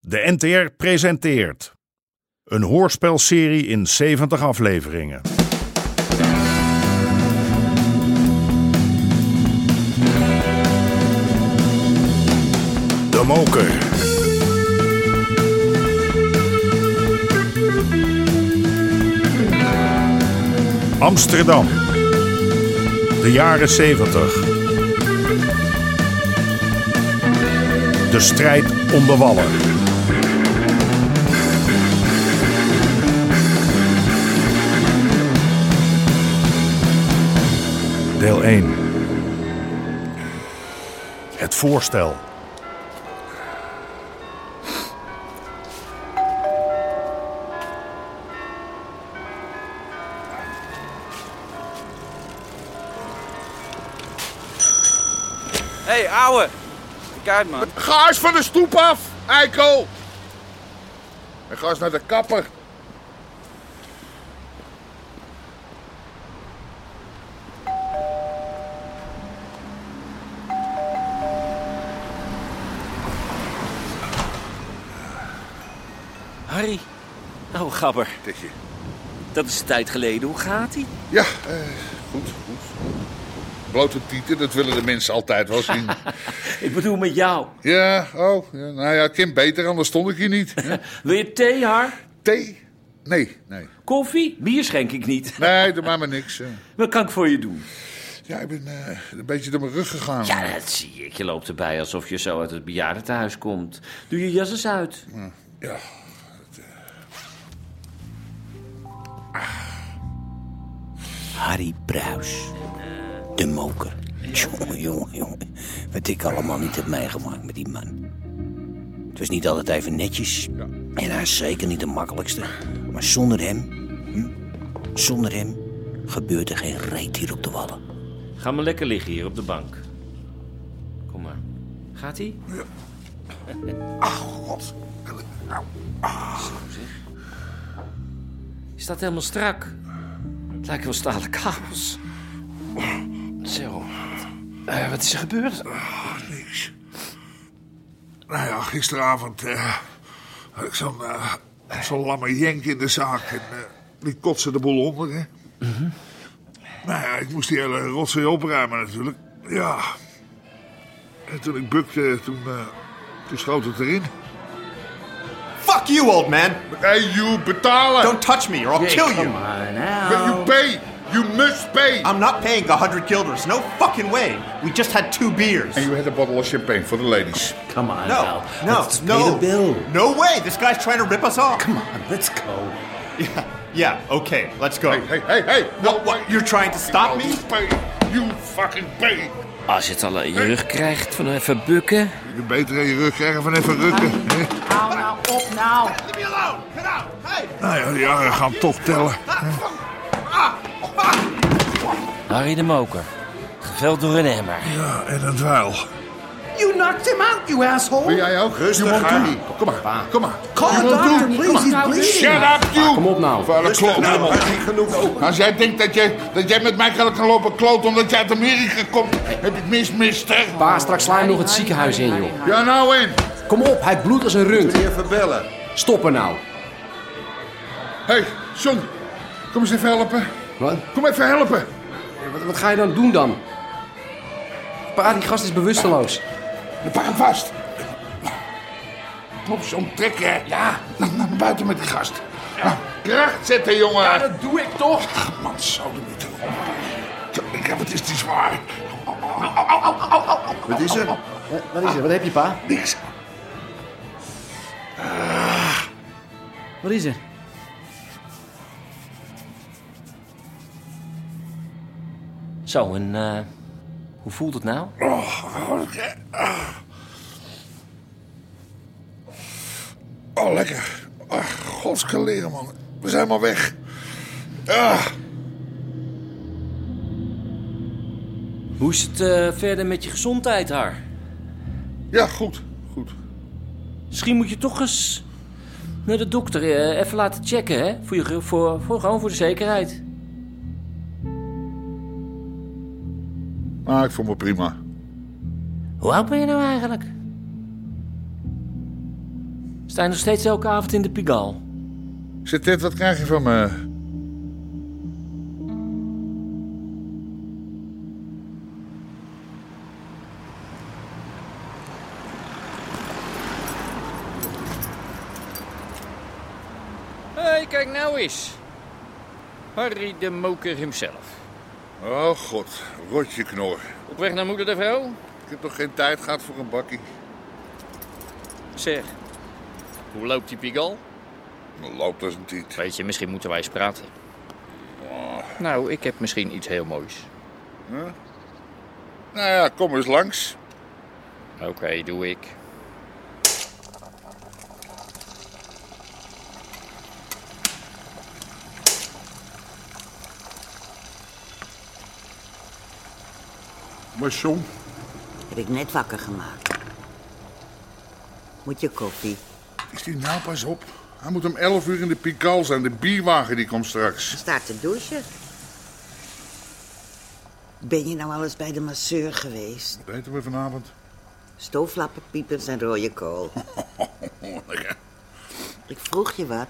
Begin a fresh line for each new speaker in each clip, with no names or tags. De NTR presenteert een hoorspelserie in 70 afleveringen. De Moker. Amsterdam. De jaren 70. De strijd om de wallen. Deel 1. Het voorstel.
Hé, hey, ouwe. Kijk uit, man.
Gaas van de stoep af, Eiko! En ga eens naar de kapper.
Harry. Oh, gabber. Dat is een tijd geleden. Hoe gaat ie?
Ja, eh, goed, goed. Blote tieten, dat willen de mensen altijd wel zien.
Ik bedoel met jou.
ja, oh, ja, nou ja, Kim beter, anders stond ik hier niet. Ja.
Wil je thee, Har?
Thee? Nee, nee.
Koffie? Bier schenk ik niet.
Nee, doe maar maar niks. eh.
Wat kan ik voor je doen?
Ja, ik ben eh, een beetje door mijn rug gegaan.
Ja, dat zie ik. Je loopt erbij alsof je zo uit het bejaardentehuis komt. Doe je jas eens uit.
Ja,
Harry Bruis. De moker. Jongen, jongen, jongen. Wat ik allemaal niet heb meegemaakt met die man. Het was niet altijd even netjes. En hij is zeker niet de makkelijkste. Maar zonder hem... hm, Zonder hem gebeurt er geen reet hier op de wallen.
Ga maar lekker liggen hier op de bank. Kom maar. Gaat ie?
Ah,
god.
Nou,
Je staat helemaal strak. Het lijkt wel stalen kabels. Zo. Eh, wat is er gebeurd?
Niks. Nou ja, gisteravond eh, had ik zo'n eh, zo'n lamme jenk in de zaak. En, eh, die kotste de boel onder, hè. Nou ja, ik moest die hele rotzooi opruimen natuurlijk. Ja. En toen ik bukte, toen, eh, toen schoot het erin.
Fuck you, old man!
Hey, you
Uh,
betalen!
Don't touch me or I'll kill you!
Maar
But
nou...
you pay! You must pay!
I'm not paying a hundred guilders. No fucking way. We just had two beers.
you had a bottle of champagne for the ladies.
Come on,
No,
Al.
no,
Let's pay
no.
the bill.
No way. This guy's trying to rip us off.
Come on, let's go.
Yeah, yeah. Okay, let's go.
Hey, hey, hey!
What? What? You're trying to stop
Oh,
me?
You pay! You fucking pay!
Als je het al in je rug krijgt van even bukken.
Je beter in je rug krijgen van even rukken. hè?
Leave me alone. Get out. Hey.
Nou ja, die jaren gaan toch tellen.
Ah.
Harry de Moker. Geveld door een emmer.
Ja, en een dweil.
You knocked him out, you asshole!
jij ook?
Rustig,
You won't do.
Harry.
Kom maar, kom maar.
Call a doctor, please, he's bleeding!
Shut up, you! Kom op nou. Vuile kloot.
Nou, Harry, genoeg.
Als jij denkt dat jij, dat jij met mij kan kan lopen kloot omdat jij uit Amerika komt, heb ik mis, mister.
Pa, straks sla je hem nog het ziekenhuis in, joh.
Ja, nou in.
Kom op, hij bloedt als een rund.
Even bellen.
Stop er nou.
hey, John. Kom eens even helpen.
Wat?
Kom even helpen.
Wat, wat ga je dan doen dan? Pa, die gast is bewusteloos.
Pak hem vast. Klopt, John. Trek, hè. Ja. Naar, naar buiten met die gast. Nou, kracht zetten, jongen.
Dat doe ik toch?
Man, zou er niet erop. Ik heb het is niet zwaar. Wat is er?
Wat is er? Wat heb je, pa?
Niks.
Wat is er?
Zo, en eh, hoe voelt het nou?
Ah. Oh, lekker. Ach, godskeleren, man. We zijn maar weg. Ah,
Hoe is het eh, verder met je gezondheid, Har?
ja, goed. Goed.
Misschien moet je toch eens naar de dokter eh, even laten checken, hè? Voor je, ge- voor, voor, gewoon voor de zekerheid.
Maar Nou, ik voel me prima.
Hoe oud ben je nou eigenlijk? Is
Sta je nog steeds elke avond in de Pigaal?
Zit dit, wat krijg je van me?
Hé, hey, kijk nou eens. Harry de Moker himself.
Oh god, rotje knor.
Op weg naar moeder de vrouw?
Ik heb toch geen tijd gehad voor een bakkie?
Zeg, hoe loopt die Pigal?
Dan loopt als een tiet.
Weet je, misschien moeten wij eens praten. Nou, ik heb misschien iets heel moois.
Nou ja, kom eens langs.
Oké, doe ik.
Maar John,
Heb ik net wakker gemaakt. Moet je koffie?
Is die nou pas op? Hij moet om 11 uur in de Pikal zijn. De bierwagen die komt straks.
Staat te douchen. Ben je nou alles bij de masseur geweest?
Wat eten we vanavond?
Stooflappen, piepers en rode kool.
Oh,
Ik vroeg je wat.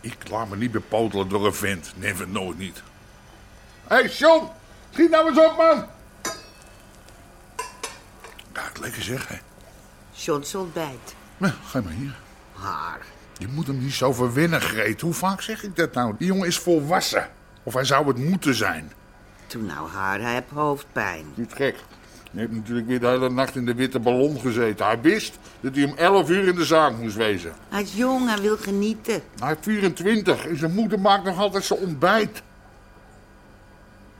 Ik laat me niet bepotelen door een vent. Never nooit niet. Hé, hey, John! Schiet nou eens op, man! Ja, het lekker zeg, hè.
John's ontbijt.
Nou, ga maar hier.
Haar.
Je moet hem niet zo verwinnen, Greet. Hoe vaak zeg ik dat nou? Die jongen is volwassen. Of hij zou het moeten zijn.
Toen nou haar, hij heeft hoofdpijn.
Niet gek. Hij heeft natuurlijk weer de hele nacht in de witte ballon gezeten. Hij wist dat hij om 11 uur in de zaak moest wezen.
Hij is jong, hij wil genieten.
Hij is 24 en zijn moeder maakt nog altijd zijn ontbijt.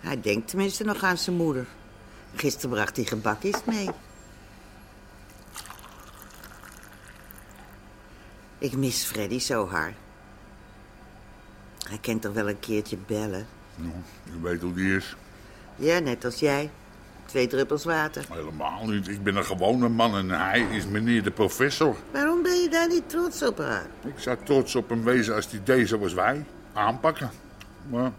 Hij denkt tenminste nog aan zijn moeder. Gisteren bracht hij gebakjes mee. Ik mis Freddy zo hard. Hij kan toch wel een keertje bellen?
Nou, je weet hoe die is.
Ja, net als jij. Twee druppels water.
Helemaal niet. Ik ben een gewone man en hij is meneer de professor.
Waarom ben je daar niet trots op, haar?
Ik zou trots op hem wezen als hij deed zoals wij. Aanpakken. Maar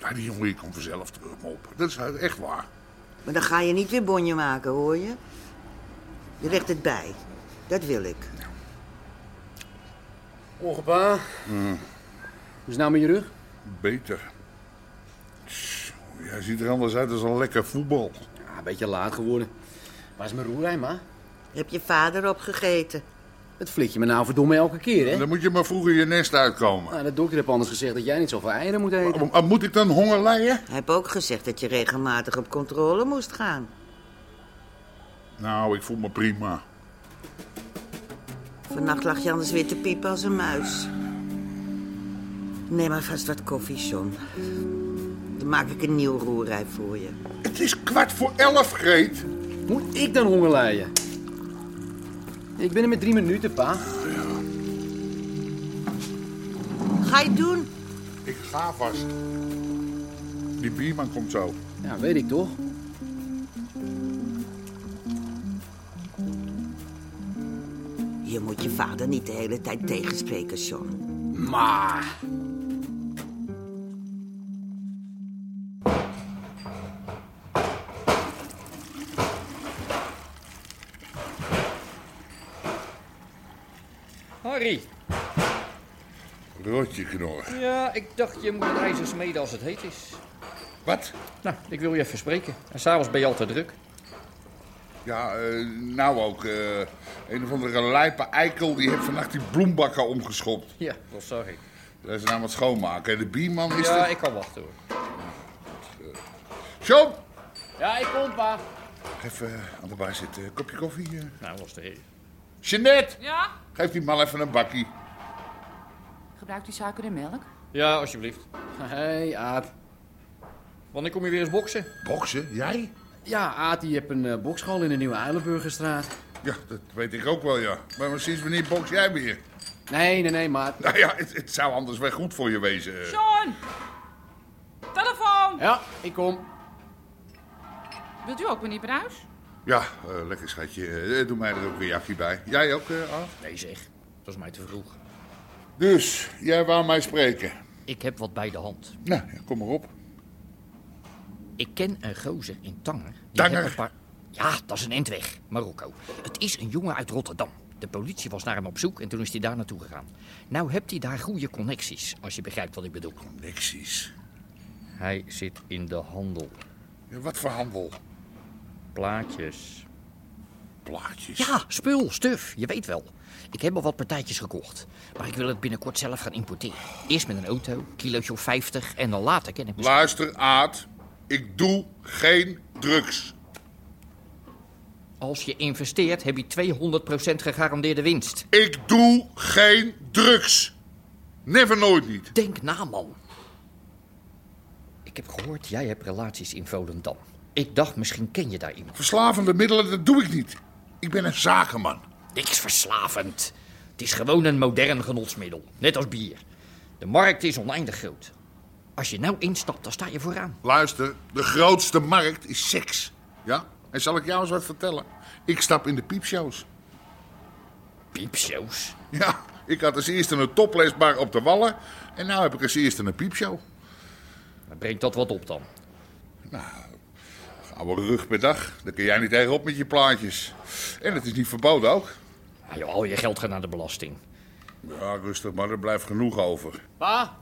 ja, die jongen die komt vanzelf terug me op. Dat is echt waar.
Maar dan ga je niet weer bonje maken, hoor je? Je legt het bij. Dat wil ik.
Ongepa. Hoe is het nou met je rug?
Beter. Tss, Jij ziet er anders uit als een lekker voetbal.
Ja, een beetje laat geworden. Waar is mijn roerij, ma?
Heb je vader opgegeten?
Dat flik je me nou verdomme elke keer, hè?
Dan moet je maar vroeger je nest uitkomen.
Nou, de dokter heeft anders gezegd dat jij niet zoveel eieren moet eten.
Oh, Maar- maar Moet ik dan honger lijden?
Hij heeft ook gezegd dat je regelmatig op controle moest gaan.
Nou, ik voel me prima.
Vannacht lag je anders weer te piepen als een muis. Neem maar vast wat koffie, John. Dan maak ik een nieuw roerij voor je.
Het is kwart voor elf, Greet.
Moet ik dan honger lijden? Ik ben er met drie minuten, pa.
Ga je het doen?
Ik ga vast. Die bierman komt zo.
Ja, weet ik toch.
Je moet je vader niet de hele tijd tegenspreken, John.
Ma.
Harry,
Rotje knor.
ja, ik dacht je moet het ijzer smeden als het heet is.
Wat?
Nou, ik wil je even spreken. En s'avonds ben je al te druk.
Ja, eh, nou ook. eh, een of andere lijpe eikel die heeft vannacht die bloembakken omgeschopt.
Ja, dat zag ik.
Daar is aan het schoonmaken. En de bierman is
Ja,
er...
ik kan wachten hoor.
John!
Ja, ik kom, pa.
Even eh, aan de bar zitten. Kopje koffie. eh.
Nou, was de heer.
Jeanette!
Ja?
Geef die man even een bakkie.
Gebruikt u suiker en melk?
Ja, alsjeblieft.
Hé, hey, Aad.
Wanneer kom je weer eens boksen?
Boksen? Jij?
Ja, Aad die heeft een eh, bokschool in de Nieuwe Eilenburgerstraat.
Ja, dat weet ik ook wel, ja. Maar, maar sinds wanneer boks jij weer?
Nee, nee, nee, maat.
Nou ja, het, het zou anders wel goed voor je wezen. eh.
John! Telefoon!
Ja, ik kom.
Wilt u ook meneer Bruis?
Ja, eh, lekker schatje. Eh, doe mij er ook een reactie bij. Jij ook, eh Aaf?
Nee, zeg. Dat is mij te vroeg.
Dus, jij wou mij spreken.
Ik heb wat bij de hand.
Nou, ja, kom maar op.
Ik ken een gozer in Tanger. Die
Tanger?
heeft Een paar... Ja, dat is een eindweg. Marokko. Het is een jongen uit Rotterdam.
De politie was naar hem op zoek en toen is hij daar naartoe gegaan. Nou hebt hij daar goede connecties, als je begrijpt wat ik bedoel.
Connecties?
Hij zit in de handel.
Ja, wat voor handel?
Plaatjes.
Plaatjes?
Ja, spul, stuf, je weet wel. Ik heb al wat partijtjes gekocht, maar ik wil het binnenkort zelf gaan importeren. Eerst met een auto, kilootje of 50 en dan later ken ik me.
Luister, Aad. Ik doe geen drugs.
Als je investeert, heb je 200% gegarandeerde winst.
Ik doe geen drugs. Never nooit niet.
Denk na, man. Ik heb gehoord, jij hebt relaties in Volendam. Ik dacht, misschien ken je daar iemand.
Verslavende middelen, dat doe ik niet. Ik ben een zakenman.
Niks verslavend. Het is gewoon een modern genotsmiddel. Net als bier. De markt is oneindig groot. Als je nou instapt, dan sta je vooraan.
Luister, de grootste markt is seks. Ja? En zal ik jou eens wat vertellen? Ik stap in de piepshows.
Piepshows?
Ja, ik had als eerste een toplesbar op de Wallen. En nu heb ik als eerste een piepshow.
Maar brengt dat wat op dan?
Nou, oude rug per dag. Daar kun jij niet tegenop met je plaatjes. En het is niet verboden ook.
Nou, joh, al je geld gaat naar de belasting.
Ja, rustig, maar er blijft genoeg over.
Pa,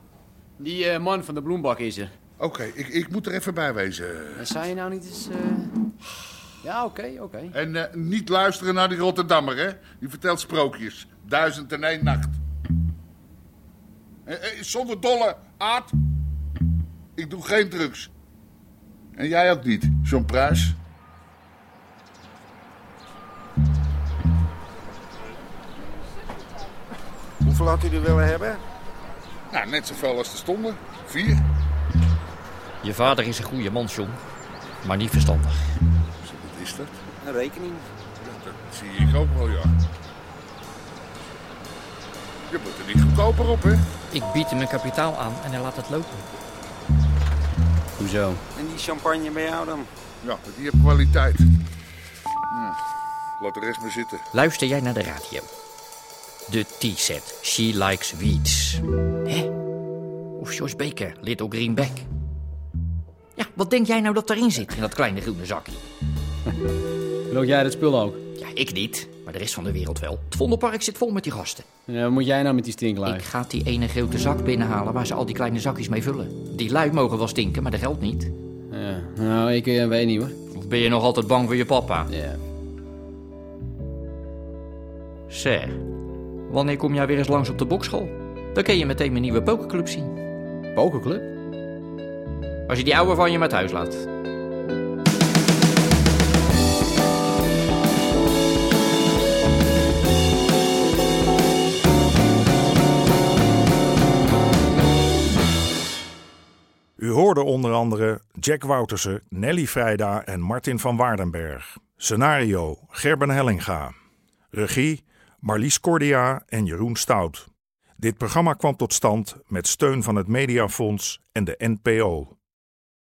die uh, man van de bloembak is er.
Oké, okay, ik, ik moet er even bij wezen.
Dat zei je nou niet eens... Uh... Ja, oké, okay, oké. Okay.
En uh, niet luisteren naar die Rotterdammer, hè? Die vertelt sprookjes. Duizend en één nacht. Eh, zonder dolle, aard. Ik doe geen drugs. En jij ook niet, zo'n prijs.
Hoeveel had u er willen hebben?
Nou, net zoveel als er stonden. Vier.
Je vader is een goede man, John. Maar niet verstandig.
Wat is dat?
Een rekening.
Dat, dat zie ik ook wel, ja. Je moet er niet goedkoper op, hè?
Ik bied hem mijn kapitaal aan en hij laat het lopen.
Hoezo?
En die champagne bij jou dan?
Ja, die heeft kwaliteit. Ja, laat de rest maar zitten.
Luister jij naar de radio? De T-set. She likes weeds. Hè? Of Jos Baker, Little Greenback. Ja, wat denk jij nou dat daarin zit, in dat kleine groene zakje?
Loop jij dat spul ook?
Ja, ik niet. Maar de rest van de wereld wel. Het Vondelpark zit vol met die gasten.
Ja, wat moet jij nou met die stinklui?
Ik ga die ene grote zak binnenhalen waar ze al die kleine zakjes mee vullen. Die lui mogen wel stinken, maar dat geldt niet.
Ja, nou, ik uh, weet niet hoor.
Of ben je nog altijd bang voor je papa?
Ja.
Zeg, wanneer kom jij weer eens langs op de bokschool? Dan kun je meteen mijn nieuwe pokerclub zien.
Pokerclub?
Als je die ouwe van je met huis laat.
U hoorde onder andere Jack Woutersen, Nelly Vrijda en Martin van Waardenberg. Scenario Gerben Hellinga. Regie Marlies Cordia en Jeroen Stout. Dit programma kwam tot stand met steun van het Mediafonds en de NPO.